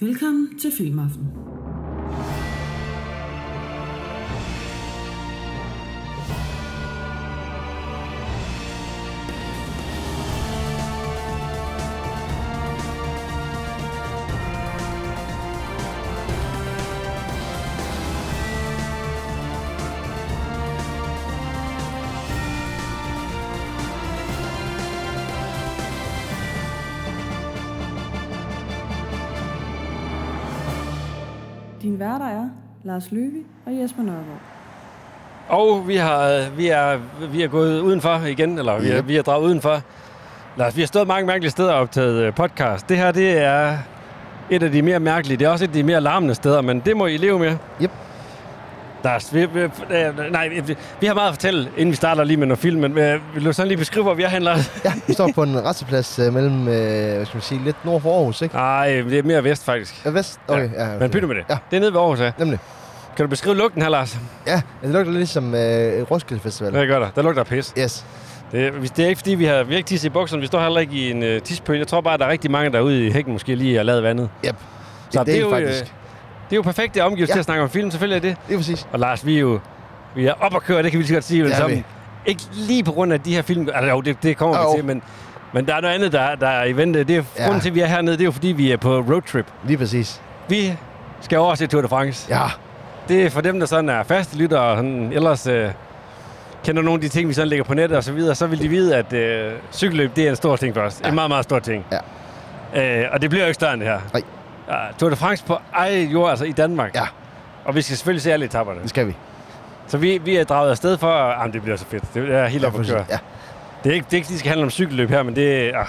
Velkommen til Filmaften. Din værter er Lars Løkke og Jesper Nørgaard. Og vi har vi er, vi er gået udenfor igen, eller vi er, vi er draget udenfor. Lars, vi har stået mange mærkelige steder og optaget øh, podcast. Det her, det er et af de mere mærkelige. Det er også et af de mere larmende steder, men det må I leve med. Yep. Lars, vi, vi, øh, nej, vi, vi har meget at fortælle, inden vi starter lige med noget film, men øh, vil du sådan lige beskrive, hvor vi er hen, Lars? Ja, vi står på en retsplads øh, mellem, øh, hvad skal man sige, lidt nord for Aarhus, ikke? Nej, det er mere vest, faktisk. Ja, vest? Okay, ja. ja Men pyt nu med det. Ja. Det er nede ved Aarhus, ja. Nemlig. Kan du beskrive lugten her, Lars? Ja, det lugter lidt som øh, Roskilde Festival. Ja, det gør der. Der lugter af pis. Yes. Det, hvis- det er ikke, fordi vi har, vi har ikke tisse i bukserne. Vi står heller ikke i en øh, tispøl. Jeg tror bare, at der er rigtig mange derude i hækken, måske lige har lavet vandet. Yep. Så det, det, er, jo, faktisk. Øh, det er jo perfekt, det er omgivet ja. Ja. til at snakke om film. Selvfølgelig er det. Det er præcis. Og Lars, vi er jo vi er op at køre, det kan vi lige så godt sige. Det Ja, er sammen. Ikke lige på grund af de her film. Altså, jo, det, det kommer Jo. vi til, men, men der er noget andet, der, der er i vente. Det er, ja. Ja. Grunden til, at vi er hernede, det er jo, fordi vi er på roadtrip. Lige præcis. Vi skal over til Tour de France. Ja, Det er for dem, der sådan er faste lyttere, og sådan, ellers øh, kender nogle af de ting, vi sådan lægger på nettet og så videre, så vil de vide, at øh, cykelløb, det er en stor ting for os. Ja. En meget, meget stor ting. Ja. Øh, og det bliver jo ikke større end det her. Nej. Ja, Tour de France på egen jord, altså i Danmark. Ja. Og vi skal selvfølgelig se alle etaperne. det skal vi. Så vi, vi er draget afsted for, at jamen, det bliver så fedt. Det er helt op at præcis. køre. Ja. Det er ikke, det er ikke, de skal handle om cykelløb her, men det er ah,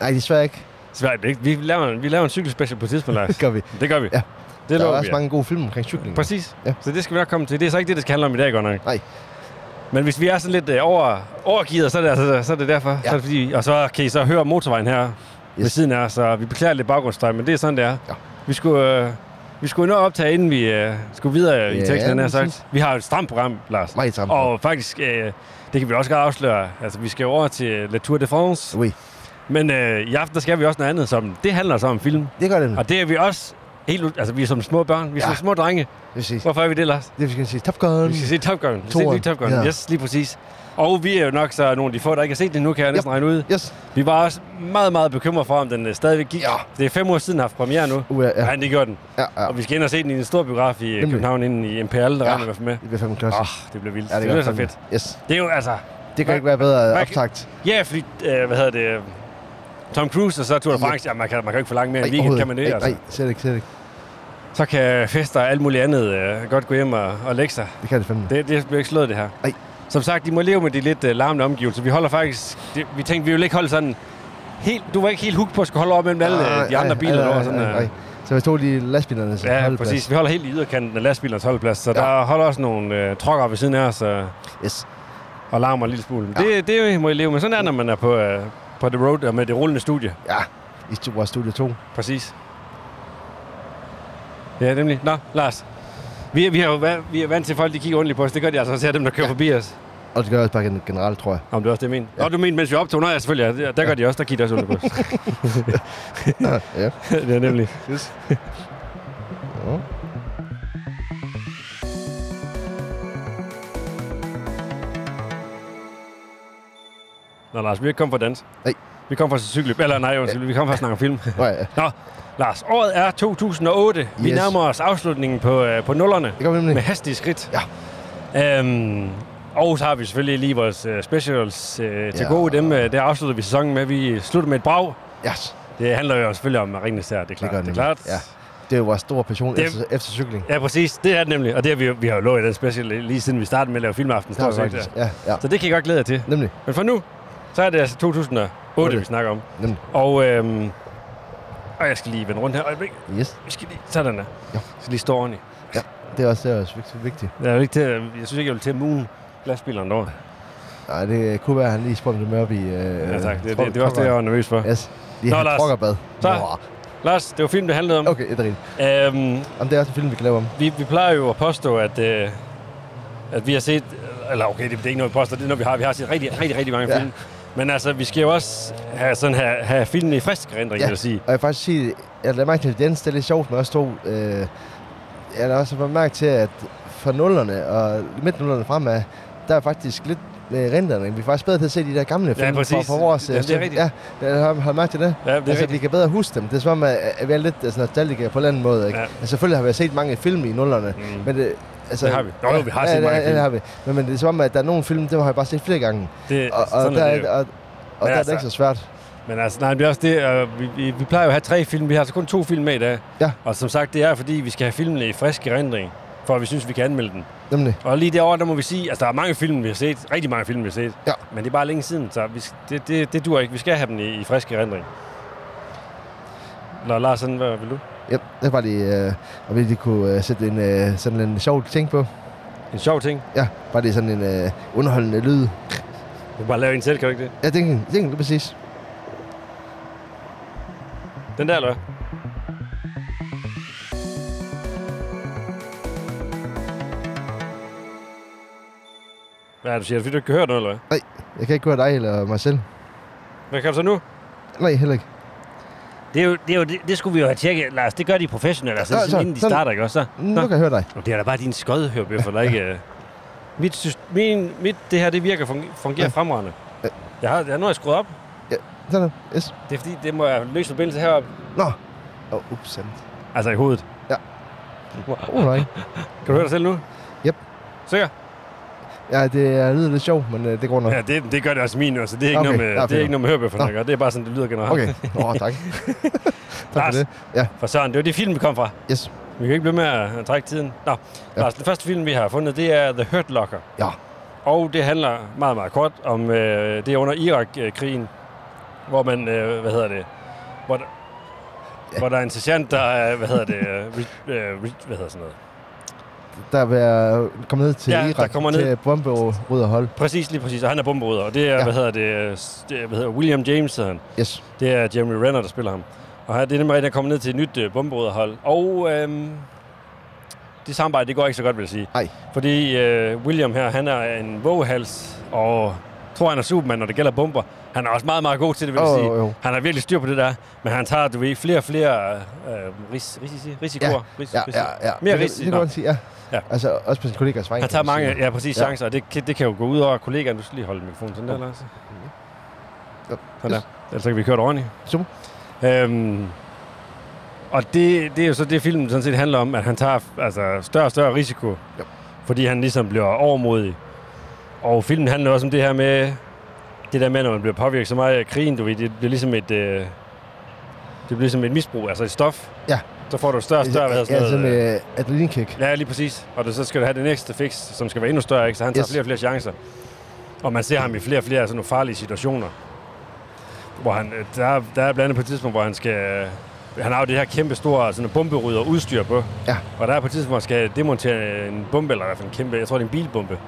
Nej, desværre ikke. svært. Det er ikke. Vi laver, en- vi laver en cykelspecial på et tidspunkt, Lars. Det gør vi. det gør vi. Ja. Det der er lover vi. også ja. mange gode film omkring cykling. Præcis. Ja. Ja. Så det skal vi nok komme til. Det er så ikke det, det skal handle om i dag, godt nok. Nej. Men hvis vi er sådan lidt øh, over, overgivet, så er det, altså, så er det derfor. Ja. Så er det fordi, og så kan I så høre motorvejen her yes. ved Yes. siden af os, så vi beklager lidt baggrundsstøj, men det er sådan, det er. Ja. Vi skulle, øh, vi skulle nå at optage, inden vi øh, skulle videre i Ja, teksten, han har præcis. sagt. Vi har jo et stramt program, Lars. Meget sammen. Og faktisk, øh, det kan vi også godt afsløre. Altså, vi skal jo over til La Tour de France. Oui. Men øh, i aften, der skal vi også noget andet, som det handler så om film. Det gør det nu. Og det er vi også helt... ud- Altså, vi er som små børn. Vi er ja. Ja. som små drenge. Præcis. Hvorfor er vi det, Lars? Det vi skal sige. Top Gun. Vi skal se Top Gun. Vi skal se den nye Top Toeren. Gun. Ja. Ja. Yes, lige præcis. Og vi er jo nok så nogle af de få, der ikke har set den nu, kan jeg næsten regne ud. Yes. Vi var også meget, meget bekymrede for, om den øh, stadigvæk gik. Ja. Det er fem uger siden, den har haft premiere nu. Uh, ja, ja, Ja. det gjorde den. ja, ja. Og vi skal ind og se den i en stor biograf i Nemlig. Nemlig. København, inden i MPL, der ja. regner i hvert fald med. Det bliver fandme klods. Åh, oh, det bliver vildt. Ja, det, det bliver gør så fandme. fedt. Yes. Det er jo altså... Det kan Hvad- ikke være bedre hvad- optagt. Ja, fordi, øh, hvad hedder det... øh, Tom Cruise og så Tour de France, ja, man, kan, man kan jo ikke forlange mere end weekend, overhovedet kan man det? ikke. altså. Nej, slet ikke, slet ikke. Så kan fester og alt muligt andet øh, godt gå hjem og, og lægge sig. Det kan det fandme. Det, det bliver ikke slået, det her. Nej. Som sagt, de må leve med de lidt uh, larmende omgivelser. Vi holder faktisk... Det, vi tænkte, vi ville ikke holde sådan... Helt, du var ikke helt hooked på at skulle holde over mellem alle Ah, øh, de andre biler. nej, derovre, nej, sådan, nej, øh. nej. Så vi tog lige lastbilerne, så Ja, holdt plads. præcis. Vi holder helt i yderkanten af lastbilernes holdeplads, så Ja. der holder også nogle øh, trokker ved siden af os øh, Yes. og larmer en lille smule. Ja. Det, det må I leve med. Sådan er det, når man er på, øh, på The Road og med det rullende studie. Ja, i stu- vores studie 2. Præcis. Ja, nemlig. Nå, Lars. Vi er, vi, er jo, va- vi er vant til, at folk de kigger ordentligt på os. Det gør de altså også her, dem der kører ja. forbi os. Og det gør jeg også bare gen- generelt, tror jeg. Om det er også det, jeg mener. Ja. Nå, du mener, mens vi optog? Nå, ja, selvfølgelig. Ja, der gør de også. Der kigger de også ordentligt på os. ja. ja, nemlig. Yes. Nå, Lars, vi er ikke kommet for at danse. Nej. Vi kom fra cykeløb. Eller nej, undskyld, vi kom fra at snakke om film. Nå, ja. Nå, Lars, året er 2008. Yes. Vi Yes. nærmer os afslutningen på, øh, på nullerne. Det gør vi Med nemlig. hastige skridt. Ja. Øhm, og så har vi selvfølgelig lige vores øh, specials øh, til ja. Ja. gode. Dem, øh, der afslutter vi sæsonen med. Vi slutter med et brag. Yes. Det handler jo selvfølgelig om Ringenes Herre, det er klart. gør Det, det er det klart. nemlig. Det er jo vores store passion Det- efter, efter cykling. ja, præcis. Det er det nemlig. Og det har vi, jo- vi har jo lovet i den special lige siden vi startede med at lave filmaften. Det har stort vi set. faktisk. Ja, ja. Så det kan I godt glæde jer til. Nemlig. Men for nu, så er det altså 2008, Otte. vi snakker om. Nemlig. Og, øhm, og jeg skal lige vende rundt her. Øjeblik. Yes. Vi skal lige... Sådan der. Jo. Jeg skal lige stå ordentligt. Det er også, det er også vigtigt, vigtigt. Jeg, er jo ikke til, at- jeg synes ikke, jeg vil til at mune glasbilerne derovre. Nej, det kunne være, at han lige spurgte dem op i... Øh, Ja, tak. Det, tror- det, det, var også det, jeg var nervøs for. Ja. Yes. Lige Nå, Nå, Lars. Lars. Trokkerbad. Så. Lars, det var film, det handlede om. Okay, det er rigtigt. Okay. Øhm, Jamen, det er også en film, vi kan lave om. vi, vi plejer jo at påstå, at, øh, at vi har set... Eller okay, det, det er ikke noget, vi påstår. Det er noget, vi har. Vi har set rigtig, rigtig, rigtig mange ja. Ja. film. Men altså, vi skal jo også have, sådan, have, have filmen i frisk erindring, ja. Ja. vil jeg sige. Og jeg vil faktisk sige, jeg lader mærke til, at Jens, det er lidt sjovt med os to. Øh, jeg lader også mærke til, at fra nullerne og midt nullerne fremad, der er faktisk lidt med renterne. Vi er faktisk bedre til at se de der gamle film fra, præcis. fra vores... øh, Jamen, det er stund. rigtigt. Ja, jeg har, har mærke til det. Ja, det er altså, altså, vi kan bedre huske dem. Det er som om, at at vi er lidt altså, nostalgikere på en eller anden måde. Ikke? Ja. Ja. Altså, selvfølgelig har vi set mange film i nullerne, Mm. men det, altså, Det har vi. Jo, jo, vi har ja, set ja, mange ja, film. det har vi. Men, men det er som om, at der er nogle film, dem har jeg bare set flere gange. det, Og, og, sådan der, er er, det jo. og, og der er det altså- ikke så svært. Men altså, nej, men det er også det, øh, vi, vi, vi plejer jo at have tre film, vi har altså kun to film med i dag. Ja. Og som sagt, det er fordi, vi skal have filmene i frisk erindring, for at vi synes, vi kan anmelde den. Nemlig. Og lige derovre, der må vi sige, altså der er mange film, vi har set, rigtig mange film, vi har set. Ja. Men det er bare længe siden, så vi, det, det, det dur ikke. Vi skal have dem i, i frisk erindring. Nå, Lars, sådan, hvad vil du? Ja, det var lige, øh, om vi lige kunne øh, sætte en, øh, sådan en sjov ting på. En sjov ting. Ja, bare lige sådan en øh, underholdende lyd. Du kan bare lave en selv, kan du ikke det? Ja, det kan det kan du præcis. Den der, eller hvad? Hvad er det, du siger? Er det, fordi du ikke kan høre noget, eller hvad? Jeg kan ikke høre dig eller mig selv. Hvad kan du så nu? Nej, heller ikke. Det, er jo, det, er jo, det, det skulle vi jo have tjekket, Lars. Det gør de professionelle, altså, Nå, sådan, så- inden de sådan. starter, ikke også? Så. Mm, Nu kan jeg høre dig. Nå, Det er da bare din skød, hørbøffer, der ikke... øh. Mit, syst- min, mit, det her, det virker fung- fungerer Ja. fremragende. Ja. Jeg har, jeg, nu har jeg skruet op. Sådan, yes. Det er fordi, det må jeg løse forbindelse heroppe. Nå. Åh, oh, ups, sandt. Oh, Altså i hovedet. Ja. Alright. Kan du høre dig selv nu? Yep. Sikker? Ja, det er lyder lidt sjovt, men øh, det går nok. Ja, det, det gør det også min, så det er ikke Okay, noget med, ja, det er fedt. ikke noget med hørbøfferne, Nå. at gøre. Det er bare sådan, det lyder generelt. Okay, Nå, tak. tak Lars. for det. Ja, For Søren, det var det film, vi kom fra. yes. Vi kan ikke blive med at at trække tiden. Nå, ja. Ja. Lars, den første film, vi har fundet, det er The Hurt Locker. Ja, Og det handler meget, meget kort om øh, det er under Irak-krigen, hvor man, øh, hvad hedder det, hvor der, ja. hvor der er en sergeant, der er, hvad hedder det, øh, re, øh, re, hvad hedder sådan noget. der vil jeg komme ned til Ja, der Irak, kommer ned. til bombe og rydder hold. Præcis, lige præcis, og han er bomberyder, og det er, ja. Ja. hvad hedder det, øh, s- det er, hvad hedder William James, hedder han. Yes. Det er Jeremy Renner, der spiller ham. Og her, det er nemlig rigtigt, at komme ned til et nyt øh, bomberyderhold. Og øh, det samarbejde, det går ikke så godt, vil jeg sige. Nej. Fordi øh, William her, han er en våghals, og tror, han er Superman, når det gælder bomber. Han er også meget, meget god til det, vil jeg Åh, sige. jo, jo. Han har virkelig styr på det der, men han tager, du ved, flere og flere øh, ris, risici, risikoer. Ris, Ja, risici. ja, ja. Mere det, det, risici. det kan man sige, ja. Ja. ja. Altså, også på sin kollegas vej. Han kan tager man sige. mange, ja, præcis, Ja. chancer, og det, kan- det kan jo gå ud over kollegaen. Du skal lige holde mikrofonen sådan der, Lars. Ja. Sådan der. Ellers så kan vi køre det ordentligt. Super. Øhm, og det, det er jo så det, filmen sådan set handler om, at han tager altså, større og større risiko, Ja. fordi han ligesom bliver overmodig. Og filmen handler også om det her med, det der med, når man bliver påvirket så meget af krigen, du ved, det bliver ligesom et, øh, det bliver ligesom et misbrug, altså et stof. Ja. Så får du større og større, hvad hedder Ja, sådan sådan noget, med adrenalinkick. Ja, lige præcis. Og det, så skal du have det næste fix, som skal være endnu større, ikke? så han tager Yes. flere og flere chancer. Og man ser ham i flere og flere af sådan nogle farlige situationer. Hvor han, øh, der, er- der er blandt andet på et tidspunkt, hvor han skal... øh, Han har jo det her kæmpe store sådan bomberydder udstyr på. Ja. Og der er på et tidspunkt, hvor han skal demontere en bombe, eller i hvert fald en kæmpe, jeg tror det er en bilbombe.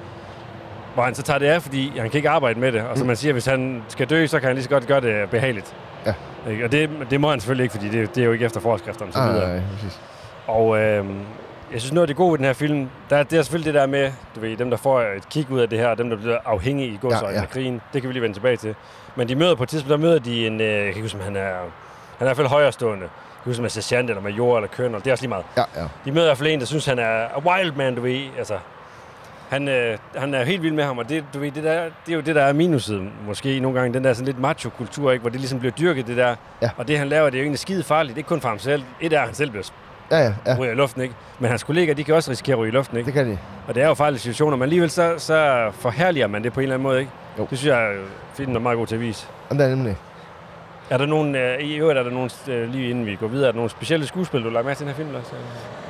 Hvor han så tager det af, fordi han kan ikke arbejde med det. Mm. Og som man siger, hvis han skal dø, så kan han lige så godt gøre det behageligt. Ja. Ikke? Og det, det må han selvfølgelig ikke, fordi det, det er jo ikke efter forskrifterne. Så Ah, videre. nej, præcis. Og øh, jeg synes, noget af det gode ved den her film, der, er- det er selvfølgelig det der med, du ved, dem der får et kig ud af det her, og dem der bliver afhængige i godsøjne ja, Ja, ja. ja. af krigen, det kan vi lige vende tilbage til. Men de møder på et tidspunkt, der møder de en, øh, jeg kan ikke huske, om han er, han er i hvert fald højrestående. Jeg kan huske, om han er sergeant, eller major, eller kønner, det er også lige meget. Ja, ja. De møder i hvert fald en, der synes, han er a wild man, du ved, altså. Han, øh, han er helt vild med ham, og det, du ved, det, der, det er jo det, der er minuset måske nogle gange, den der sådan lidt macho-kultur, ikke? hvor det ligesom bliver dyrket, det der. Ja. Og det, han laver, det er jo egentlig skide farligt, ikke kun for ham selv. Et er, at han selv bliver Ja, ja, ja. ryger i luften, ikke? Men hans kollegaer, de kan også risikere at ryge i luften, ikke? Det kan de. Og det er jo farlige situationer, men alligevel så, så forherliger man det på en eller anden måde, ikke? Jo. Det synes jeg, øh, filmen er meget god til at vise. Jamen, det er nemlig. Er der nogen, øh, i øvrigt er der nogen, øh, lige inden vi går videre, er der nogle specielle skuespil, du har lagt mærke til den her film, Lars?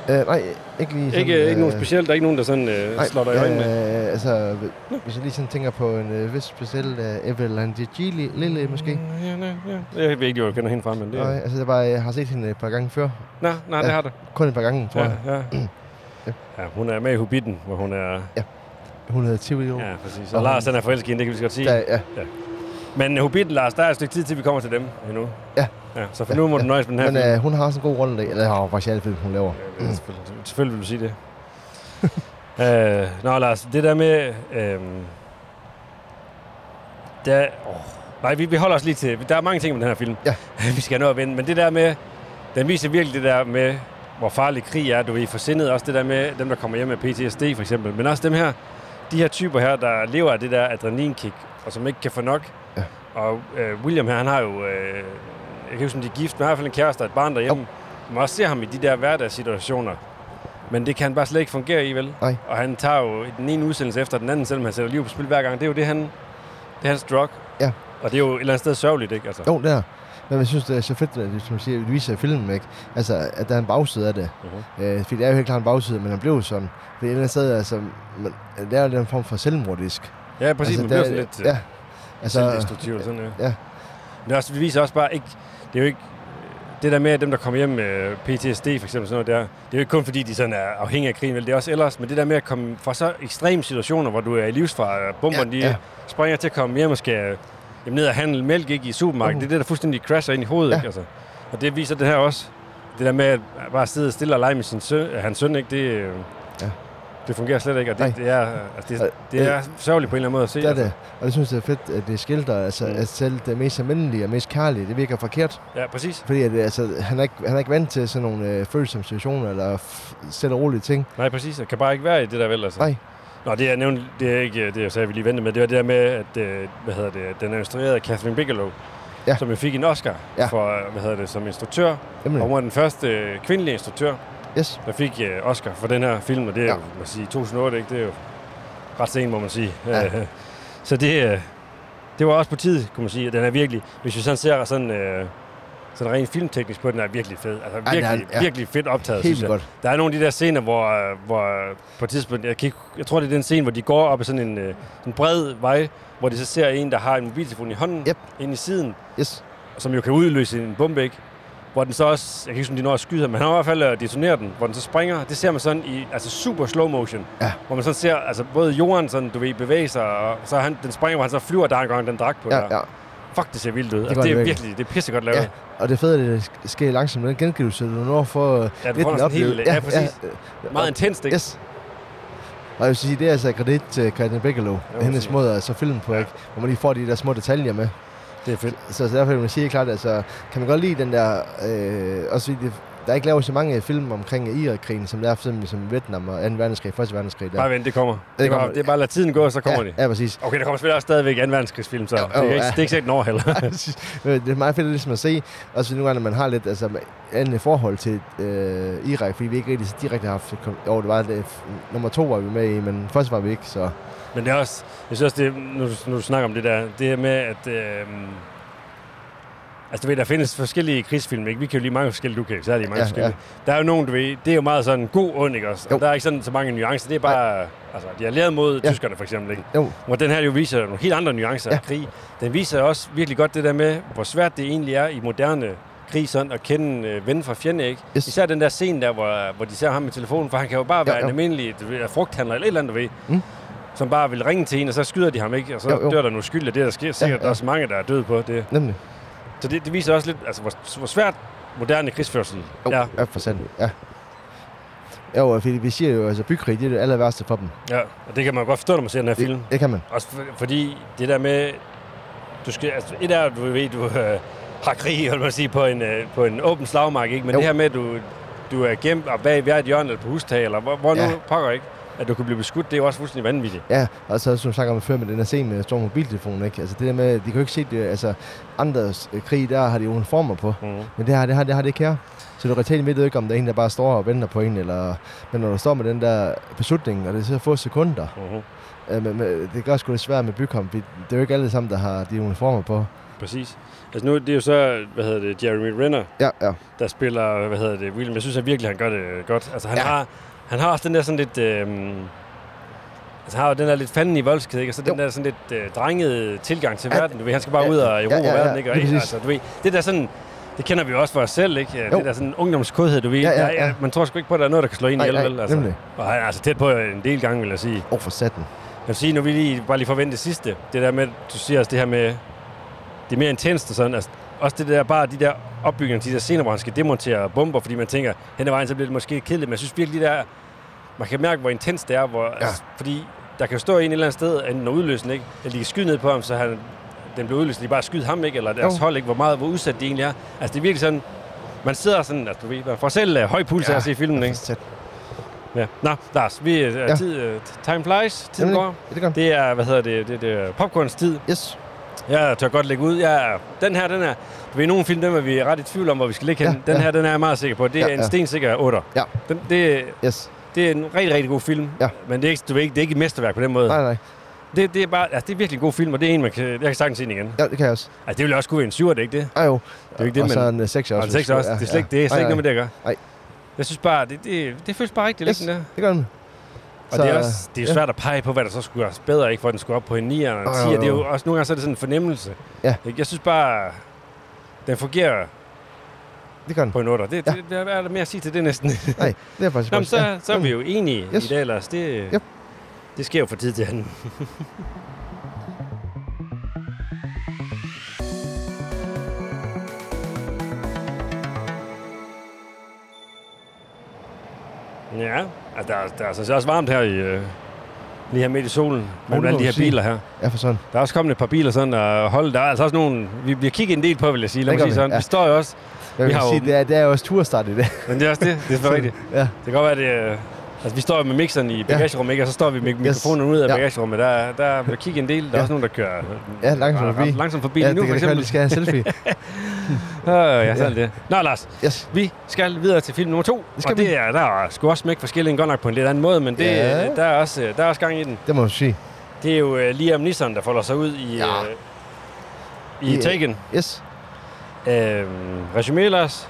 Øh, nej, ikke lige Ikke, øh, ikke nogen specielt, der er ikke nogen, der sådan øh, slår dig i øjnene? øh, altså, hvis jeg lige sådan tænker på en øh, vis speciel øh, Evelyn Gigli, Lille måske. Ja, nej, ja. Jeg ved ikke, hvor jeg kender hende fra, men det... Nej, altså, jeg, bare, jeg har set hende et par gange før. Nej, nej, det Ja. har det. Kun et par gange, tror Ja, jeg. ja. ja, hun er med i Hobbiten, hvor hun er... Hun hedder Tivoli. Ja. Ja, præcis. Og Og hun- Lars, han er forelsket i hende, det kan vi så godt sige. Der, ja. Men Hobbiten, Lars, der er et stykke tid til, vi kommer til dem endnu. Ja. ja så for nu må Ja, du nøjes med den her Men film. øh, hun har også en god rolle i dag. Eller har hun faktisk i alle film, hun laver. Ja, det er mm. selvfølgelig, Mm. selvfølgelig vil du sige det. øh, nå, Lars, det øhm, der med... Øh, der, åh, Nej, vi, vi holder os lige til... Der er mange ting med den her film. Ja. vi skal nå at vende. Men det der med... Den viser virkelig det der med, hvor farlig krig er, du ved, for sindet. Også det der med dem, der kommer hjem med PTSD, for eksempel. Men også dem her, de her typer her, der lever af det der adrenalinkick, og som ikke kan få nok. Ja. Og øh, William her, han har jo... Øh, jeg kan ikke huske, om de er gift, men i hvert fald en kæreste og et barn derhjemme. Man også ser ham i de der hverdagssituationer. Men det kan han bare slet ikke fungere i, vel? Nej. Og han tager jo den ene udsendelse efter den anden, selvom han sætter liv på spil hver gang. Det er jo det, han... Det er hans drug. Ja. Og det er jo et eller andet sted sørgeligt, ikke? Altså. Jo, det er. Men jeg synes, det er så fedt, at det, som du siger, det viser i filmen, ikke? Altså, at der er en bagside af det. Uh-huh. Øh, fordi det er jo helt klart en bagside, men han blev jo sådan. Det er et eller andet sted, altså, man, det er jo den form for selvmordisk. Ja, præcis. altså, Altså, man der- bliver sådan lidt ja, Ja. Altså, selvdestruktiv. og Sådan, ja. ja. Men også, det viser også bare ikke... Det er jo ikke... Det der med, at dem, der kommer hjem med PTSD, for eksempel sådan noget der, det er jo ikke kun fordi, de sådan er afhængige af krigen, vel? det er også ellers, men det der med at komme fra så ekstreme situationer, hvor du er i livsfare, og bomberne Ja, ja, ja. ja. de springer til at komme hjem og skal øh, jamen, ned og handle mælk ikke, i supermarkedet, Mhm. det er det, der fuldstændig crasher ind i hovedet. Ja. Ja. Ikke, altså. Og det viser det her også. Det der med at bare sidde stille og lege med sin søn, hans søn, ikke, det, øh, Ja. det fungerer slet ikke, og det, Nej. det, er, altså, det, Og øh, det er sørgeligt på en eller anden måde at se. Det er altså. det. Og det synes jeg er fedt, at det skildrer, altså, Mm. at selv det mest almindelige og mest kærlige, det virker forkert. Ja, præcis. Fordi at, altså, han, er ikke, han er ikke vant til sådan nogle øh, følsomme situationer, eller f- selv og rolige ting. Nej, præcis. Jeg kan bare ikke være i det der vel, altså. Nej. Nå, det jeg nævnte, det er ikke det, jeg sagde, vi lige ventede med. Det var det der med, at øh, hvad hedder det, den instruerede Catherine Bigelow, Ja. ja. som jo fik en Oscar Ja. Mm. ja. for, hvad hedder det, som instruktør. Jamen, Og hun var den første øh, kvindelige instruktør, yes. der fik øh, Oscar for den her film, og det er Ja. ja. jo, man siger, 2008, ikke? Det er jo ret sent, må man sige. Ja. Øh, så det, øh, det var også på tide, kunne man sige. og Den er virkelig, hvis vi sådan ser sådan, øh, sådan rent filmteknisk på, den er virkelig fed. Altså den er- virkelig, ja. ja. virkelig fedt optaget, synes Helt jeg. godt. Der er nogle af de der scener, hvor, øh, hvor øh, på et tidspunkt, jeg, kan ikke, jeg tror, det er den scene, hvor de går op ad sådan en, øh, en bred vej, hvor de så ser en, der har en mobiltelefon i hånden, Yep. ind i siden, Yes. som jo kan udløse en bombe, ikke? Hvor den så også, jeg kan ikke huske, om de når at skyde ham, men han har i hvert fald øh, detoneret den, hvor den så springer. Det ser man sådan i altså super slow motion, Ja. hvor man sådan ser altså både jorden sådan, du ved, bevæge sig, og så han, den springer, hvor han så flyver, der er engang den dragt på Ja, der. ja. Fuck, det ser vildt ud. Det, gør altså, det er det virkelig, det er pissegodt lavet. ja. Og det fede er, at det sk- sker langsomt med den gengivelse, du når for øh, Ja, du lidt får en sådan helt- oplevelse. ja, præcis. øh, Meget intenst, ikke? Yes. Og jeg vil sige, det er altså kredit til Katrin Bigelow, ja, hendes præcis. måde at så filmen på, Ja. ikke? hvor man lige får de der små detaljer med. Det er fedt. Så, så derfor vil jeg sige klart, altså, kan man godt lide den der, øh, også fordi det, der er ikke lavet så mange film omkring Irak-krigen, som der er for eksempel som Vietnam og 2. verdenskrig, 1. verdenskrig. Der. Bare vent, det kommer. Det, det, kommer. kommer. Bare, det er bare, lad tiden gå, og så kommer ja, det. ja, præcis. Okay, der kommer selvfølgelig også stadigvæk 2. verdenskrigsfilm, så Jo, jo, jo, jo, det, er ikke, ja. det er ikke sikkert en år heller. det er meget fedt ligesom at se, også fordi nogle gange, når man har lidt altså, andet forhold til øh, Irak, fordi vi ikke rigtig så direkte har haft... Kom- jo, det var det, f- nummer to var vi med i, men først var vi ikke, så... Men det er også, jeg synes også, det, er- nu, nu du snakker om det der, det her med, at... Øh, altså, du ved, der findes forskellige krigsfilm, ikke? Vi kan jo lige mange forskellige, du kan jo særlig mange Ja, ja, forskellige. Ja. Der er jo nogen, du ved, det er jo meget sådan god ond, ikke også? Jo. Og der er ikke sådan så mange nuancer, det er bare... Altså, de er lavet mod Ja. ja. tyskerne, for eksempel, ikke? Jo, Hvor den her jo viser nogle helt andre nuancer ja. Ja. af krig. Den viser også virkelig godt det der med, hvor svært det egentlig er i moderne krig sådan at kende øh, ven fra fjende, ikke? Yes. Yes. Især den der scene der, hvor, hvor de ser ham med telefonen, for han kan jo bare Jo, være jo. en almindelig du ved, frugthandler eller et eller andet, du ved, Mm. som bare vil ringe til en, og så skyder de ham, ikke? Og så Jo, jo, jo. jo. dør der nogle skyld af det, der sker. Sikkert ja, ja. ja. også mange, der er døde på det. nemlig. Så det, det viser også lidt, altså, hvor, hvor svært moderne krigsførsel Jo, er. ja, for sandt. Ja. Jo, og fordi vi siger jo, altså bykrig, det er det aller værste for dem. Ja, og det kan man godt forstå, når man ser den her film. Det, det kan man. Også for, fordi det der med, du skal, altså, et er, at du ved, du øh, har krig, vil man sige, på en, øh, på en åben slagmark, ikke? Men jo. Jo. det her med, at du, du er gemt og bag hvert hjørne eller på hustag, eller hvor, hvor Ja. nu pokker, ikke? At du kan blive beskudt, det er jo også fuldstændig vanvittigt. Ja, og så som jeg snakker om før med den her scene med stor mobiltelefon, ikke? Altså det der med, de kan jo ikke se det, altså andres øh, krig, der har de jo uniformer på. Mm. Men det her, det her, det her, det ikke her. Så du reelt ved du ikke, om der er en, der bare står og venter på en, eller... Men når du står med den der beslutning, og det er så få sekunder, Mm-hmm. øh, men, men, det gør sgu lidt svært med bykamp. Det er jo ikke alle sammen, der har de uniformer på. Præcis. Altså nu, det er jo så, hvad hedder det, Jeremy Renner, Ja, ja. der spiller, hvad hedder det, William. Jeg synes, han virkelig, han gør det godt. Altså han, Ja. ja. har, han har også den der sådan lidt... Øh, altså, han har jo den der lidt fanden i voldsked, ikke? Og så den Jo. der sådan lidt øh, drengede tilgang til Ja. verden. Du ved, han skal bare Ja. ud og erobre Ja, ja, ja. verden, ikke? Og, Lige præcis. altså, du ved, det der sådan... Det kender vi jo også for os selv, ikke? Jo. Det der sådan ungdomskodhed, du ved. Ja, Ja, ja, ja, ja. Man tror sgu ikke på, at der er noget, der kan slå en Nej, ihjel, nej, vel? Altså. nemlig. Og han er altså tæt på en del gange, vil jeg sige. Åh, oh, for satan. Jeg vil sige, nu vil lige, bare lige forvente det sidste. Det der med, du siger også det her med, det er mere intenst og sådan. Altså, også det der, bare de der opbygninger, de der scener, hvor han skal demontere bomber, fordi man tænker, hen ad vejen, så bliver det måske kedeligt. Men jeg synes virkelig, der, man kan mærke, hvor intens det er. Hvor, ja. altså, fordi der kan jo stå en et eller andet sted, enten at udløse den, ikke? Eller de kan skyde ned på ham, så han den blev ødelagt, de bare skyder ham ikke, eller deres Jo. jo. hold ikke, hvor meget, hvor udsat de egentlig er. Altså det er virkelig sådan, man sidder sådan, altså du ved, man får selv uh, høj puls ja, af at se filmen, ikke? Tæt. Ja. Nå, Lars, vi er Ja. ja. tid, uh, time flies, tiden Nemlig. går. Ja, det gør den. Det er, hvad hedder det, det, det er popcorns tid. Yes. Jeg tør godt lægge ud. Jeg, er- den her, den er... Du ved, nogle film, dem er vi ret i tvivl om, hvor vi skal ligge hen. Ja, den ja. her, den er jeg meget sikker på. Det er Ja, en ja. stensikker 8. Ja. Den, det, Yes. det er en rigtig, rigtig god film. Ja. Men det er, ikke, du ved ikke, det er ikke et mesterværk på den måde. Nej, nej. Det, det, er bare, altså, det er virkelig en god film, og det er en, man kan, jeg kan sagtens se den igen. Ja, det kan jeg også. Altså, det ville også kunne være en 7, er det ikke det? Ej, jo. er jo ikke det, og men- så en 6 også. Og en 6 hvis- også. ja, Det er slet ja. ikke, det er slet Nej, ikke nej. noget med det, jeg gør. Nej. Jeg synes bare, det, det, det føles bare rigtigt yes. Yes. liggende der. Det gør den. Og det er, også, det er jo svært at pege på, hvad der så skulle gøres bedre, ikke? for at den skulle op på en 9 eller en Åh, 10. jo, Det er jo jo. også nogle gange så er det sådan en fornemmelse. Øh. Ja. Ikke? Jeg synes bare, den fungerer Det gør den. på en 8. Det, Ja. ja. det, det, er der mere at sige til det næsten. Nej, det er faktisk Nå, men faktisk- ja. så, så er vi jo enige Yes. yes. i dag, Lars. Det, Yep. det sker jo fra tid til anden. Ja, altså, der, er- der er sådan set også varmt her i, øh, lige her midt i solen, det mellem alle må de her du sige. biler her. Ja, for sådan. Der er også kommet et par biler sådan, og hold, der er altså også nogle, vi, vi har kigget en del på, vil jeg sige, lad Det mig sige gør vi, sådan. ja. Ja. Vi står jo også, Jeg Vi vil har jo- sige, det er, det er jo også turstart i det. men det er også det, det er selvfølgelig rigtigt. ja. Det kan godt være, det øh, Altså, vi står jo med mixeren i bagagerummet, ikke? Og så står vi med mikrofonen ud af Ja. bagagerummet. Der, er- der bliver kigget en del. Der er Ja. også nogen, der kører øh, Ja, langsomt ret- forbi. ret langsomt forbi ja, lige nu, det for kan det eksempel. de skal have selfie. Øh, ja, sådan det. Nå, Lars, Yes. vi skal videre til film nummer to. Det skal og det er, der er sgu også smæk forskellige godt nok på en lidt anden måde, men det, Ja. øh, der, er også, øh, der er også gang i den. Det må man sige. Det er jo øh, Liam Neeson, der folder sig ud i, Ja. øh, i I- Taken. Yes. Øh, resumé, Lars.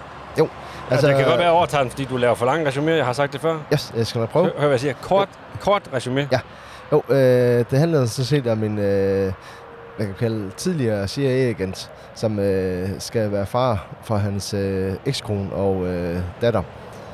Altså, der kan godt være, at jeg overtager den, fordi du laver for lange resumé. Jeg har sagt det før. Yes, jeg skal nok prøve. Hør, hør, hvad jeg siger. Kort, kort resumé. Jo, øh, det handlede sådan set om en, øh, hvad kan vi kalde, tidligere CIA-agent, som øh, skal være far for hans øh, ekskone og øh, datter.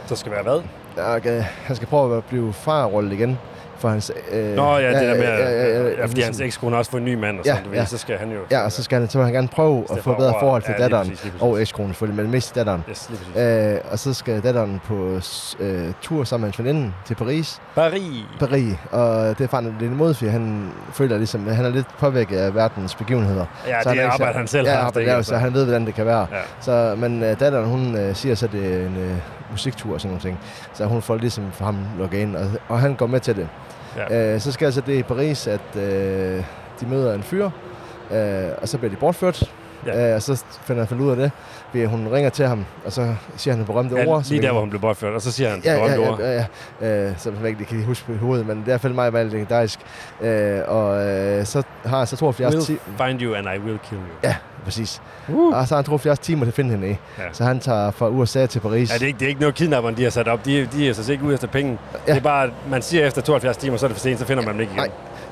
Så skal være hvad? Og, øh, han skal prøve at blive farrollet igen for hans... Øh, Nå ja, det der med, ja, ja, ja, ja, ja, fordi hans ekskone også får en ny mand, og Ja, sådan, du ved, ja. så skal han jo... Ja, og så skal han, så vil han gerne prøve at få bedre forhold til datteren og ekskonen, selvfølgelig, men mest datteren. Yes, lige præcis. Øh, og så skal datteren på øh, tur sammen med hans veninde til Paris, Paris. Paris, og det er faren lidt imod, fordi han føler ligesom, at han er lidt påvirket af verdens begivenheder. Ja, det så er er ikke arbejde, så- han selv ja, har haft. arbejder ikke? der, så han ved, hvordan det kan være. Ja. Så, men øh, datteren, hun øh, siger så, at det er en øh, musiktur og sådan nogle ting. Så hun får ligesom for ham lukket ind, og, og han går med til det. Ja. Øh, så sker så det i Paris, at øh, de møder en fyr, øh, og så bliver de bortført. Ja. Ja. Øh, og så finder han ud af det, ved at hun ringer til ham, og så siger han det berømte Ja, ord. som lige vi- der, hvor hun blev bortført, og så siger han, Ja, ja, ja, ord. ja, ja, ja. Øh, som jeg ikke lige kan huske på hovedet, men det er i hvert fald meget, meget legendarisk. Øh, og øh, så har han så 72 Will timer. find you, and I will kill you. Ja, præcis. Uh. Og så har han 72 timer til at finde hende i. Ja. Så han tager fra USA til Paris. Ja, det er ikke, det er ikke noget kidnapperen, de har sat op. De, de er så ikke ude efter penge. Ja. Ja. Det er bare, at man siger efter 72 timer, så er det for sent, så finder man dem ikke igen. Nej,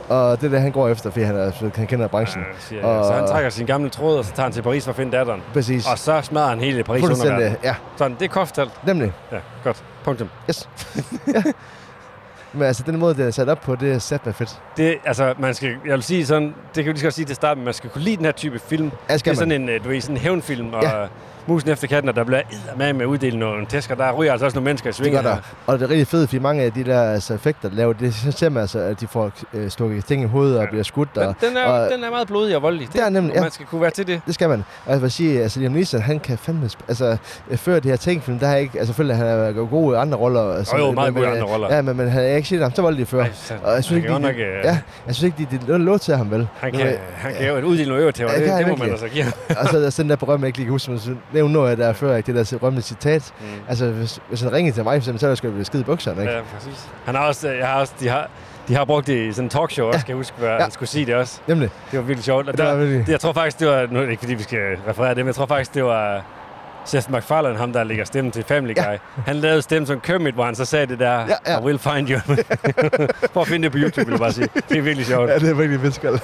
og det er det, han går efter, fordi han, er, han kender branchen. Ja, siger, jeg. Så han Og- trækker sin gamle tråd, og så tager han til Paris for at finde datteren. Præcis. Og så smadrer han hele Paris underverden. Ja, Sådan, det er koftalt. nemlig. Ja, godt. Punktum. Yes. ja. Men altså, den måde, det er sat op på, det er sat med fedt. Det, altså, man skal, jeg vil sige sådan, det kan vi lige så godt sige til starten, man skal kunne lide den her type film. Ja, skal det er man. sådan en, øh, du ved, sådan en hævnfilm, og Ja. ja. musen efter katten, og der bliver med med at uddele nogle tæsker. Der ryger altså også nogle mennesker i Det svinget. gør der. Og det er rigtig fedt, fordi mange af de der altså, effekter, der laver det, så ser man altså, at de får øh, stukket ting i hovedet og Ja. bliver skudt. Den, Og, den, er, og- den er meget blodig og voldelig. Det er nemlig, og ja. Man skal kunne være til det. det skal man. Og jeg vil sige, altså Liam Neeson, han kan fandme... Sp- altså, øh, før det her tænkfilm, der har jeg ikke... Altså, selvfølgelig, han er jo god i andre roller. Og jo, meget men, god i øh, andre roller. Ja, men, men han har ikke set ham så voldelig før. Ej, så- og jeg synes han ikke, kan de, godt nok, øh, ja, jeg synes ikke, de, de, lå til ham, vel? Han Nu, kan, øh, han kan jo uddele nogle øver til, og Ja, det det, kan det, han må man virkelig. altså give ham. og så er der sådan der program, jeg ikke lige kan huske, men så nævne noget af det der før, ikke? det der rømme citat. Mm. Altså, hvis, hvis han ringede til mig, for eksempel, så ville jeg sgu blive skide i bukserne, ikke? Ja, præcis. Han har også, øh, jeg har også, de har, de har brugt det i sådan en talkshow også, kan jeg huske, hvor ja. han skulle sige det også. Nemlig. Det var virkelig sjovt. Og Det var der, virkelig- det, jeg tror faktisk, det var... Nu er det ikke, fordi vi skal referere det, men jeg tror faktisk, det var Seth MacFarlane, ham der lægger stemmen til Family Guy. Ja. Han lavede stemmen som Kermit, hvor han så sagde det der, ja, ja. ja. I will find you. Prøv at finde det på YouTube, vil jeg bare sige. Det er virkelig sjovt. Ja, det er virkelig fedt, skal jeg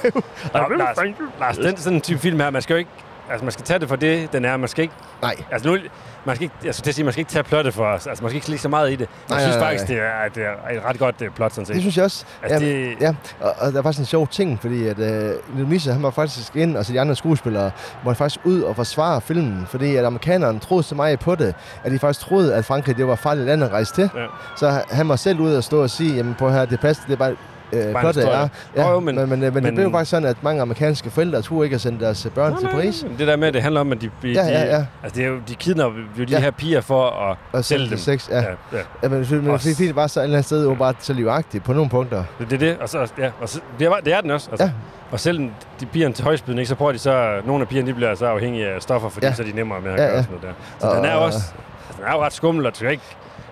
lave. Nå, Lars, Lars, den sådan en type film her, man skal jo ikke... Altså, man skal tage det for det, den er. Man skal ikke... Nej, Altså, nu, man skal ikke, jeg skulle til at sige, man skal ikke tage plottet for os. Altså, man skal ikke ligge så meget i det. Jeg Nej, synes nej, nej. faktisk, det er, det er et ret godt øh, plot, sådan set. det synes jeg også. Altså, ja, det- ja. Og, og, der var sådan en sjov ting, fordi at øh, Liam Neeson, han var faktisk ind, og så de andre skuespillere, måtte faktisk ud og forsvare filmen, fordi at amerikanerne troede så meget på det, at de faktisk troede, at Frankrig det var et farligt land at rejse til. Ja. Så han var selv ud og stå og sige, jamen på her, det passer, det er bare øh, en plottet historie. er. Ja, Jo, jo, men- men, men, men, øh, men, men- det blev faktisk sådan, at mange amerikanske forældre turde ikke at sende deres øh, børn til Paris. Det der med, at det handler om, at de, de, Ja, ja, ja. Altså, det er jo, de kidnapper jo de Ja. her piger for at Og sælge sælge dem. sex. Ja. Ja, ja. Ja, men, men, men Også- fordi det var så et eller andet sted åbenbart så livagtigt på nogle punkter. Det er det, og så, ja, og så, det, er, det er den også. Altså. Ja. Og selvom de pigerne til højspydning, så prøver de så, nogle af pigerne de bliver så afhængige af stoffer, fordi ja. Ja. så er de nemmere med at Ja, gøre ja, ja. sådan noget der. Så og, Og- den er jo også, altså, den er jo ret skummel, og du kan ikke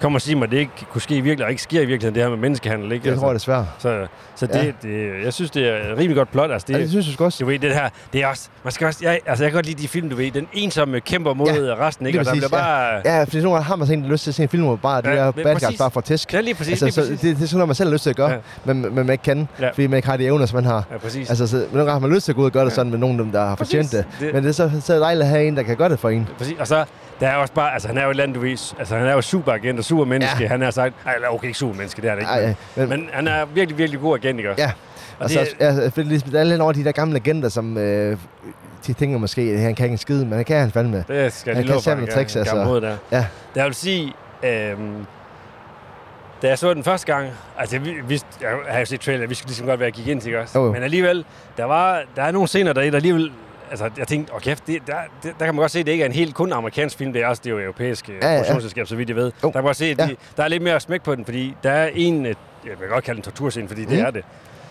komme og sige mig, at det ikke kunne ske i virkeligheden, og ikke sker i virkeligheden, det her med menneskehandel. Ikke? Altså, Det tror jeg desværre. så, så det, Ja. det, jeg synes, det er et rimelig godt plot. Altså, det, Ja, det synes jeg sgu også. du ved, det her, det er også, man skal også, jeg, altså jeg kan godt lide de film, du ved, den ensomme kæmper mod ja, resten, ikke? lige Og der bliver præcis, bare... Ja. Ja, fordi nogle gange har man sådan lyst til at se en film, hvor bare Ja, ja, de her men bad præcis. guys bare får tæsk. Ja, lige præcis, Altså, lige så præcis. det, det, er sådan noget, man selv har lyst til at gøre, Ja. ja. men, men man ikke kan, Ja. ja. fordi man ikke har de evner, som man har. ja, præcis. Altså, Altså, så, men nogle gange har man lyst til at gå ud og gøre det sådan med nogle af dem, der har Præcis. fortjent det. Det- Men det er så, så dejligt at have en, der kan gøre det for en. præcis. Og så, der er også bare, altså han er jo et eller andet, du ved, altså han er jo superagent og supermenneske, ja. Ja. han har sagt, ej, eller okay, ikke supermenneske, det er det ikke, Ej, men, ej, men, men- men, han er virkelig, virkelig god agent, ikke også? Ja. Og Og så, det- ja, for ligesom, der er lidt over de der gamle legender, som øh, de tænker måske, at han kan ikke en skide, men det kan han fandme. Det skal jeg Han lige kan love for, sammen han med kan, tricks, han kan altså. mod der. Ja. Der vil sige, øhm, da jeg så den første gang, altså vi, vi, jeg har jo set trailer, vi skulle ligesom godt være at gik ind til ikke også. Jo, jo. Men alligevel, der, var, der er nogle scener deri, der alligevel, altså jeg tænkte, åh kæft, det, der, det, der kan man godt se, at det ikke er en helt kun amerikansk film, det er også det er jo europæiske ja, ja, ja. ja. produktionsselskab, så vidt jeg ved. Der kan man godt se, at de, Ja. der er lidt mere smæk på den, fordi der er en, øh, jeg kan godt kalde den torturscene, fordi mm. det Mm. er det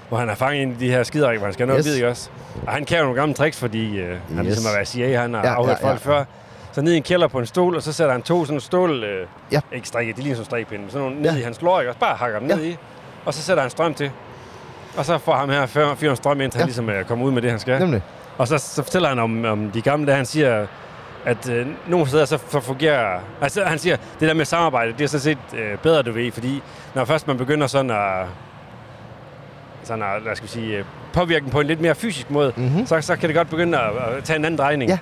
hvor han har fanget en af de her skiderikker, hvor han skal have noget yes. Yes. bid, ikke også? Og han kan jo nogle gamle tricks, fordi øh, han yes. Yes. ligesom har været CIA, han har ja, Ja, afhørt ja, ja, ja. folk før. Så ned i en kælder på en stol, og så sætter han to sådan stål... Øh, ja. Ja. Ikke strikke, de ligner sådan strikkepinde, men sådan nogle ned Ja. i hans lår, ikke? Og bare hakker dem ja. Ja. ned i. Og så sætter han strøm til. Og så får ham her fyr- fyren strøm ind, til ja. Ja. han ligesom øh, kommer ud med det, han skal. Jamen. Nemlig. Og så, så fortæller han om, om de gamle, der han siger, at øh, nogle steder så, så fungerer... Altså han siger, det der med samarbejde, det er sådan set øh, bedre, du ved, fordi når først man begynder sådan at sådan at, hvad skal vi sige, øh, påvirke den på en lidt mere fysisk måde, mm-hmm. Mhm. så, så kan det godt begynde at, at tage en anden drejning. Ja.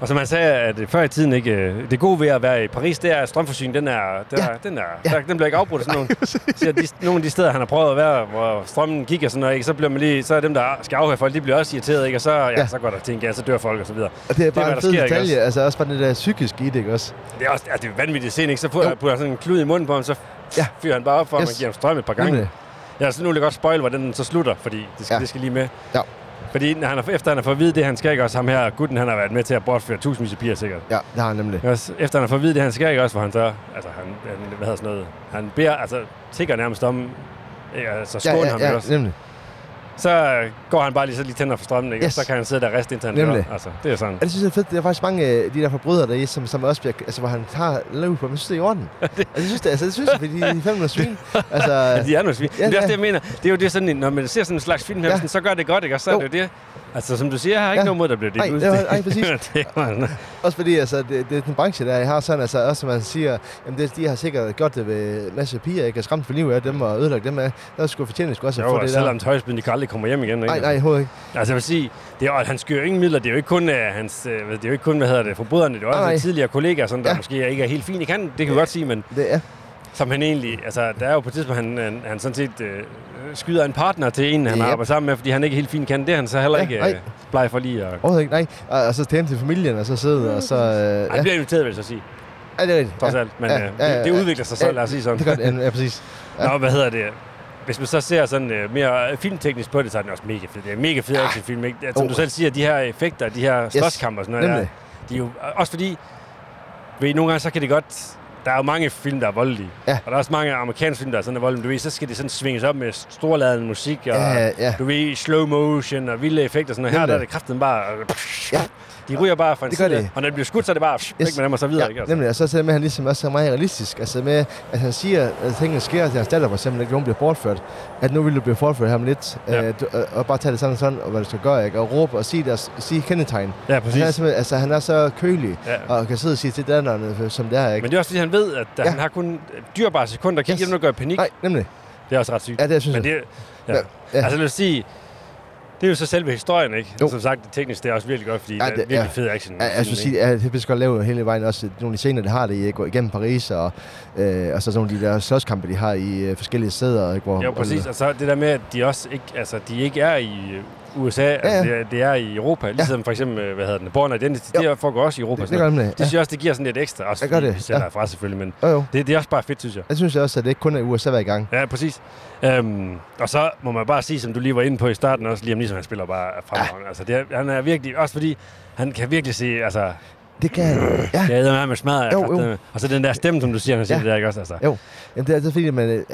Og som han sagde, at før i tiden ikke, øh, det gode ved at være i Paris, det er, at strømforsyningen, den er, den, er, den, er, ja. der, den bliver ikke afbrudt. af Sådan nogle, så de, nogle af de steder, han har prøvet at være, hvor strømmen gik og sådan noget, ikke, så, bliver man lige, så er dem, der skal afhøre folk, de bliver også irriteret, ikke, og så, ja, ja. Ja. så går der ting, ja, så dør folk og så videre. Og det er bare hvad det der en fed sker, ikke detalje. også? Altså også bare det der psykiske i det, ikke også? Det er også altså, det er vanvittigt scene, ikke? Så får Jo. jeg putter sådan en klud i munden på ham, så ja. Ja. fyrer han bare op for, yes. Yes. man giver ham strøm et par gange. Nemlig. Ja, så nu vil jeg godt spoil, hvordan den så slutter, fordi det skal, ja. Ja. det skal lige med. Ja. Fordi når han har, efter han har fået at vide det, han skal ikke også, ham her gutten, han har været med til at bortføre tusindvis af piger sikkert. Ja, det har han nemlig. Ikke Også, efter han har fået at vide det, han skal ikke også, hvor han så, altså han, han hvad hedder sådan noget, han beder, altså tigger nærmest om, ikke? altså skåne ja, ham ikke ja, ja, også. nemlig. Så øh, går han bare lige så lige tænder for strømmen, ikke? Yes. Yes. så kan han sidde der og riste indtil han Nemlig. dør. Altså, det er sådan. Og det synes jeg er fedt. Der er faktisk mange af de der forbrydere der som, som også bliver... Altså, hvor han tager løb på, men jeg synes, det er i orden. altså, jeg synes, det, altså, det synes jeg, fordi de er 500 svin. Altså, Ja, de er nogle svin. Ja, Ja, det er ja. også det, jeg mener. Det er jo det sådan, en- når man ser sådan en slags film her, Ja. ja. så gør det godt, ikke? Og så er Jo. det jo det. Altså, som du siger, jeg har ikke ja. Ja. noget mod, der bliver delt Nej, ud. det var- nej, præcis. det var, også fordi, altså, det, det, er den branche der, jeg har sådan, altså, også som man siger, jamen, det, de har sikkert gjort det ved en masse piger, ikke? Og skræmt for livet af dem og ødelagt dem af. Der skulle fortjene skulle også at jo, få og det der. selvom tøjspiden, de kan aldrig komme hjem igen. Ikke? Nej, nej, overhovedet ikke. Altså, jeg vil sige, det er, og han skyr ingen midler. Det er jo ikke kun, uh, hans, uh, det er jo ikke kun hvad hedder det, forbryderne. Det er jo også Nej. hans tidligere kollegaer, sådan, der ja. Ja. måske ikke er helt fine. Kan, det kan vi godt sige, men Det er. som han egentlig... Altså, der er jo på et tidspunkt, han, han, han sådan set øh, skyder en partner til en, han Ja. arbejder sammen med, fordi han ikke er helt fin kan. Det er han så heller Ja, ikke nej. øh, bleg for lige at... Overhovedet ikke, nej. Og, og så til hjem til familien, og så sidde, og så... Øh, Ej, ja. han bliver inviteret, vil jeg så sige. Ja, det er rigtigt. trods ja. alt. Men Ja, ja, ja, øh, det, ja, det ja. udvikler sig selv, lad os sige sådan. Det gør det, ja, ja, præcis. Nå, hvad hedder det? Hvis man så ser sådan øh, mere filmteknisk på det, så er den også mega fed. Det er en mega fed ah. actionfilm, ikke? Som Oh. du selv siger, de her effekter, de her slåskampe og sådan noget, der, nemlig. de er jo, øh, også fordi, ved I, nogle gange så kan det godt... Der er jo mange film, der er voldelige. Ja. Og der er også mange amerikanske film, der er sådan er voldelige. Du ved, så skal det sådan svinges op med storladende musik, og Ja, ja. du ved, slow motion og vilde effekter og sådan noget. Her Nemlig. der er det kraften bare... Ja. De ryger bare fra en Det gør side, de. og når det bliver skudt, så er det bare... Yes. Væk med dem og så videre, ikke? Altså. nemlig. Og så er det med, at han ligesom også er meget realistisk. Altså med, at han siger, at tingene sker til hans datter, for eksempel, ikke, når hun bliver bortført. At nu vil du blive bortført her om lidt. Ja. Ja. Øh, du, og, og, bare tage det sådan og sådan, og hvad du skal gøre, ikke? Og råbe og sige, deres, sige kendetegn. Ja, Han er, præcis. simpelthen- altså, han er så kølig, Ja. og kan sidde og sige til datteren, øh, som det er, ikke? Men det er også fordi, han ved, at ja. Ja. han har kun dyrbare sekunder. Kan ikke Yes. yes. gøre i panik. Nej. Nej, nemlig. Det er også ret sygt. Ja, det synes Men jeg. det, ja. Ja, Ja. ja. Altså lad os sige, det er jo så selve historien, ikke? Jo. Jo. Som sagt, teknisk, det er også virkelig godt, fordi ja, Ja, det, er det- virkelig ja. fed action. Ja, jeg Filmen, skulle sige, at det bliver godt lavet hele vejen også. Nogle af de scener, de har det i, går igennem Paris, og, øh, og så sådan nogle af de der slåskampe, de har i øh, forskellige steder. Ikke, hvor, ikke? Jo, præcis. Og så det der med, at de også ikke, altså, de ikke er i øh, USA, ja, ja. Altså, det, er, det er i Europa. Ligesom ja. for eksempel, øh, hvad hedder den, Born Identity, jo. det foregår også i Europa. Det, det sådan gør noget. nemlig. det synes jeg også, det giver sådan lidt ekstra. Også Det gør fordi det, vi sender ja. herfra selvfølgelig, men Ja, jo, jo. det, det er også bare fedt, synes jeg. Jeg synes også, at det ikke kun er USA hver gang. Ja, præcis. Øhm, og så må man bare sige, som du lige var inde på i starten også, Liam Neeson, han spiller bare fremragende. Ja. Altså, det er, han er virkelig, også fordi han kan virkelig se, altså, Det kan Ja, det er med smadret. Jo, altså, jo. det- Og så den der stemme, som du siger, han siger Ja. ja. det der, ikke også? Altså. jo. Jamen, det er altid fordi, man, øh,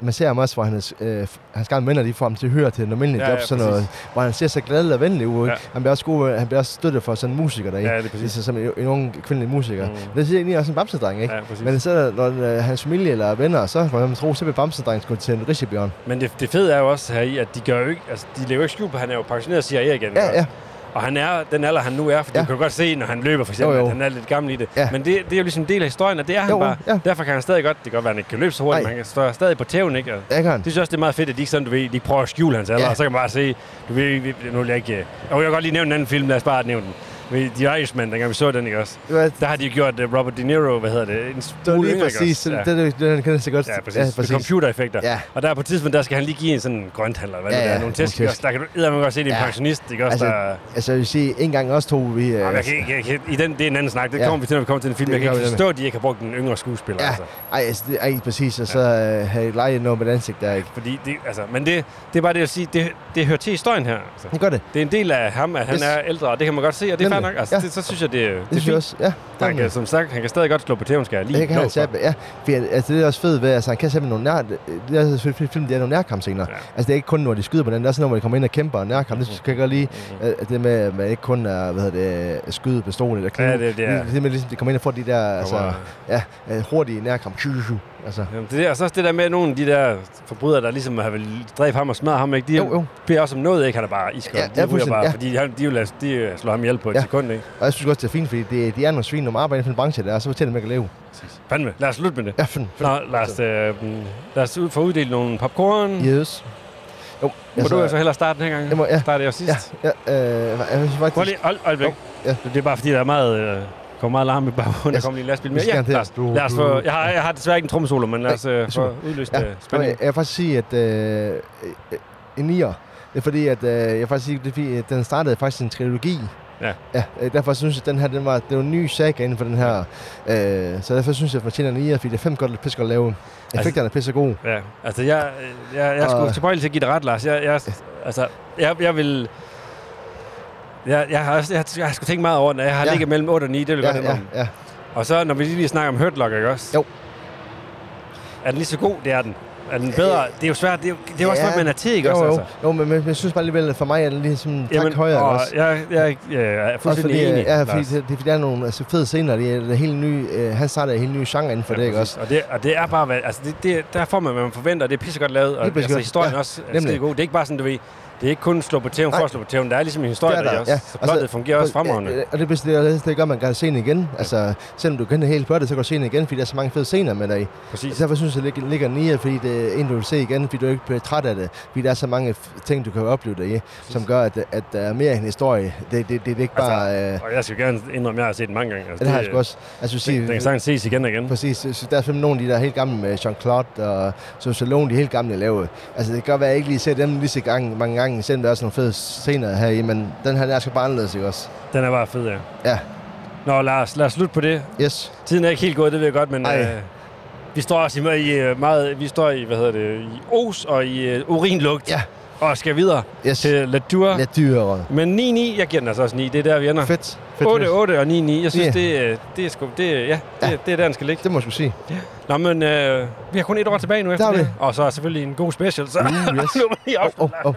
man ser ham også, hvor han, er, øh, han skal mænd, og de får ham til at høre til en almindelig Ja, job, ja, sådan noget, hvor han ser så glad og venlig ud. Ja. Ja. Han bliver også, god, øh, han bliver også støttet for sådan en musiker derinde. Ja, det er præcis. Ligesom som en, en ung kvindelig musiker. Mm. Mm. Det siger egentlig også en bamsedreng, ikke? Ja, præcis. Men så når øh, hans familie eller venner, så må man tro, så bliver bamsedrengen skulle til en rigsbjørn. Men det, det fede er jo også her i, at de gør jo ikke, altså, de lever ikke skjul på, han er jo pensioneret siger jeg igen. Ja, ja. Og han er den alder, han nu er, for ja. Ja. du kan jo godt se, når han løber for eksempel, jo, Jo, jo. jo. at han er lidt gammel i det. Ja. Men det, det er jo ligesom en del af historien, og det er han Jo, bare. ja. Derfor kan han stadig godt, det kan godt være, at han ikke kan løbe så hurtigt, Nej. men han kan- står stadig på tæven, ikke? Og Ja, det kan han. Det synes jeg også, det er meget fedt, at de ikke sådan, du ved, de prøver at skjule hans alder, Ja. og så kan man bare se, du ved, vi- nu vil jeg ikke... øh, Og jeg kan godt lige nævne en anden film, lad os bare nævne den. Ved The Irishman, dengang vi så den, ikke også? Det var- Der har de jo gjort øh, Robert De Niro, hvad hedder det? En Det smule var lige yngre, ikke præcis. også? Det, det, det, det, han kender så godt. Ja, præcis. Ja, præcis. Med computereffekter. Ja. Og der er på et tidspunkt, der skal han lige give en sådan grønthandler, hvad ja, Ja, det er, ja, nogle nogle tæsk. tæsk. også. Der kan du eddermame godt se, det er en Ja. pensionist, ikke også? Altså, der, altså, jeg vil sige, en gang også tog vi... Øh, Jamen, jeg kan, ikke- jeg, kan, i den, det er en anden snak. Det Ja. kommer vi til, når vi kommer til en film. Det Jeg kan gør ikke vi forstå, at de ikke har brugt en yngre skuespiller. Ja. Ja, Altså. ej, altså, det, ej, præcis, og så øh, havde jeg leget noget med et ansigt der, ikke? Fordi det, altså, men det, det er bare det at sige, det, det hører til historien her. Altså. Det gør det. Det er en del af ham, at han Yes. er ældre, og det kan man godt se, og det er fair Nemlig. nok. Altså, Ja. det, så synes jeg, det, det, Det, er synes jeg fint. også. Ja, Han kan, det, som sagt, han kan stadig godt slå på tæven, skal jeg lige det kan love for. han sætte. Ja, for, altså, det er også fedt ved, altså, han kan sætte nogle nær... Det er også fedt film, det er nogle nærkampscener. Ja. Mm. Ja. Altså, det er ikke kun, når de skyder på den, det er også, når de kommer ind og kæmper og nærkamp. Det skal jeg godt lide, øh, at det med, at man ikke kun er, hvad hedder det, skyde på stolen eller knive. Ja, det- det er- Det, det med, ligesom, de kommer ind og får de der, altså, Kommer- ja, øh, hurtige nærkamp. Altså, Jamen, det er, og så også det der med, at nogle af de der forbrydere, der ligesom har vel dræbt ham og smadret ham, ikke? de Jo, jo. bliver også om noget, ikke? Han er bare iskold. Ja, Ja, ja, de ryger fuldstændig, bare, ja. ja. fordi han, de, vil, lade- de øh, slår ham ihjel på et ja. Ja. sekund. Ikke? og jeg synes også, det er fint, fordi det, de er nogle svin, når man arbejder inden for en branche der, og så fortæller man, at man kan leve. Fandme, lad os slutte med det. Ja, fint. Nå, lad os, øh, lad os ud, få uddelt nogle popcorn. Yeah. Yes. Jo, Må du altså- så hellere starte den her gang? Jeg må- ja. Starter jeg sidst? Ja, ja, øh, jeg synes faktisk... Prøv lige, hold, øjeblik. Jo, ja. Det er bare fordi, der er meget... Øh, kommer meget larm i baggrunden. Der Yes. kommer lige en lastbil Vi mere. skal Ja, gerne til. lad os, lad os få, jeg, har, jeg har desværre ikke en trommesolo, men lad os øh, få super. udløst Ja, ja. Spændende. spænding. Jeg vil faktisk sige, at øh, øh, en nier. Det er fordi, at øh, jeg vil faktisk sige, det er fordi, at den startede faktisk en trilogi. Ja. ja øh, derfor synes jeg, at den her, den var, det var en ny saga inden for den her. Øh, så derfor synes jeg, at Martina nier, fordi det er fem godt pisse godt lavet. Altså- Effekterne er pisse gode. Ja, altså jeg, øh, jeg, jeg skulle Og- tilbøjelig til at give dig ret, Lars. Jeg, jeg, altså, jeg, jeg vil... Jeg, jeg, har, også- jeg, jeg har sgu tænkt meget over den. og Jeg har ja. Ja. ligget mellem 8 og 9, det vil jeg Ja, godt ja, indrømme. ja. Og så, når vi lige snakker om Hurt Locker, ikke også? Jo. Er den lige så god? Det er den. Er den bedre? Det er jo svært. Det er jo, det er jo også, Øh, Ja. hvad man er til, ikke Jo, også? jo, Altså. jo, men, men jeg synes bare alligevel, at for mig er den lige sådan tak højere. og også. jeg, jeg, jeg, jeg er Også fuldstændig fordi, enig, enig, ja, fordi Lars. det, det, der er nogle altså, fede scener, det er, det er helt ny, øh, han starter en helt ny genre inden for ja, det, ikke præcis. også? Og det, og det er bare, hvad, altså det, det, der får man, hvad man forventer, og det er pissegodt lavet, og Det er altså, pissegodt. historien ja, Ja, også er nemlig. skide god. Det er ikke bare sådan, du ved, det er ikke kun slå på tæven for Nej. at slå på tæven, der er ligesom en historie, der, der også, ja. så Og så- plottet fungerer også fremragende. Altså, Ja, Og det, det, det, det gør, at man kan se den igen. Altså, selvom du kender helt plottet, så kan du se den igen, fordi der er så mange fede scener med dig. Præcis. Så derfor synes jeg, at det ligger den i, fordi det er en, du vil se igen, fordi du ikke bliver træt af det. Fordi der er så mange f- ting, du kan opleve dig i, som gør, at, at der er mere end historie. Det, det, det, det er ikke Altså, bare... Altså, øh, Og jeg skal gerne indrømme, at jeg har set den mange gange. Altså, det har jeg sgu også. Altså, sige, Den kan sagtens ses igen og igen. Præcis, så der er selvfølgelig nogle af de der er helt gamle med Jean-Claude og Sylvester Stallone, de er helt gamle lave. Altså det kan godt være, at jeg ikke lige ser dem lige så gang, mange gange, selvom der er sådan nogle fede scener her i, men den her der er sgu bare anderledes, ikke også? Den er bare fed, ja. Ja, Nå, Lars, lad os slutte på det. yes. Tiden er ikke helt gået, det ved jeg godt, men Ej. øh, vi står også i, i øh, meget, vi står i, hvad hedder det, i os og i øh, urinlugt. Ja. Og skal videre Yes. til Ladur. Lidt dyrere. Men 9-9, jeg giver den altså også 9, det er der, vi ender. Fedt. fedt 8, fedt. 8 og 9, 9. Jeg synes, Ja. det, øh, det er sgu... Det, øh, ja, det, ja. det er der, den skal ligge. Det må jeg sgu sige. Nå, men øh, vi har kun et år tilbage nu efter har vi. det. Og så er selvfølgelig en god special, så Mm, yes. nu må vi Åh, afslutte. åh,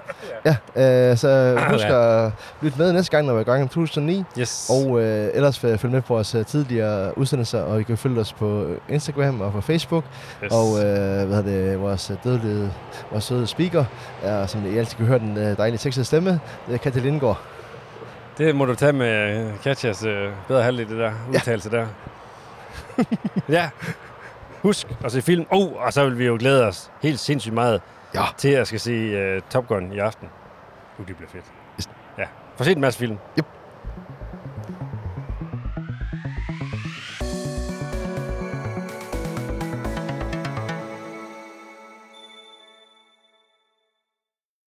åh. Ja, øh, så husk at lytte med næste gang, når vi er i gang om 2009. Yes. Og øh, ellers øh, følg med på vores øh, tidligere udsendelser, og I kan følge os på øh, Instagram og på Facebook. yes. Og øh, hvad hedder det, vores øh, dødelige, vores søde speaker, er, som I altid kan høre den øh, dejlige sexede stemme, det er Katja Lindgaard. Det må du tage med øh, Katjas øh, bedre halvdel, det der udtalelse der. ja. Husk at se film. Oh, og så vil vi jo glæde os helt sindssygt meget Ja. til at skal se øh, Top Gun i aften. Uh, det bliver fedt. Yes. Ja. Få set en masse film. Yep.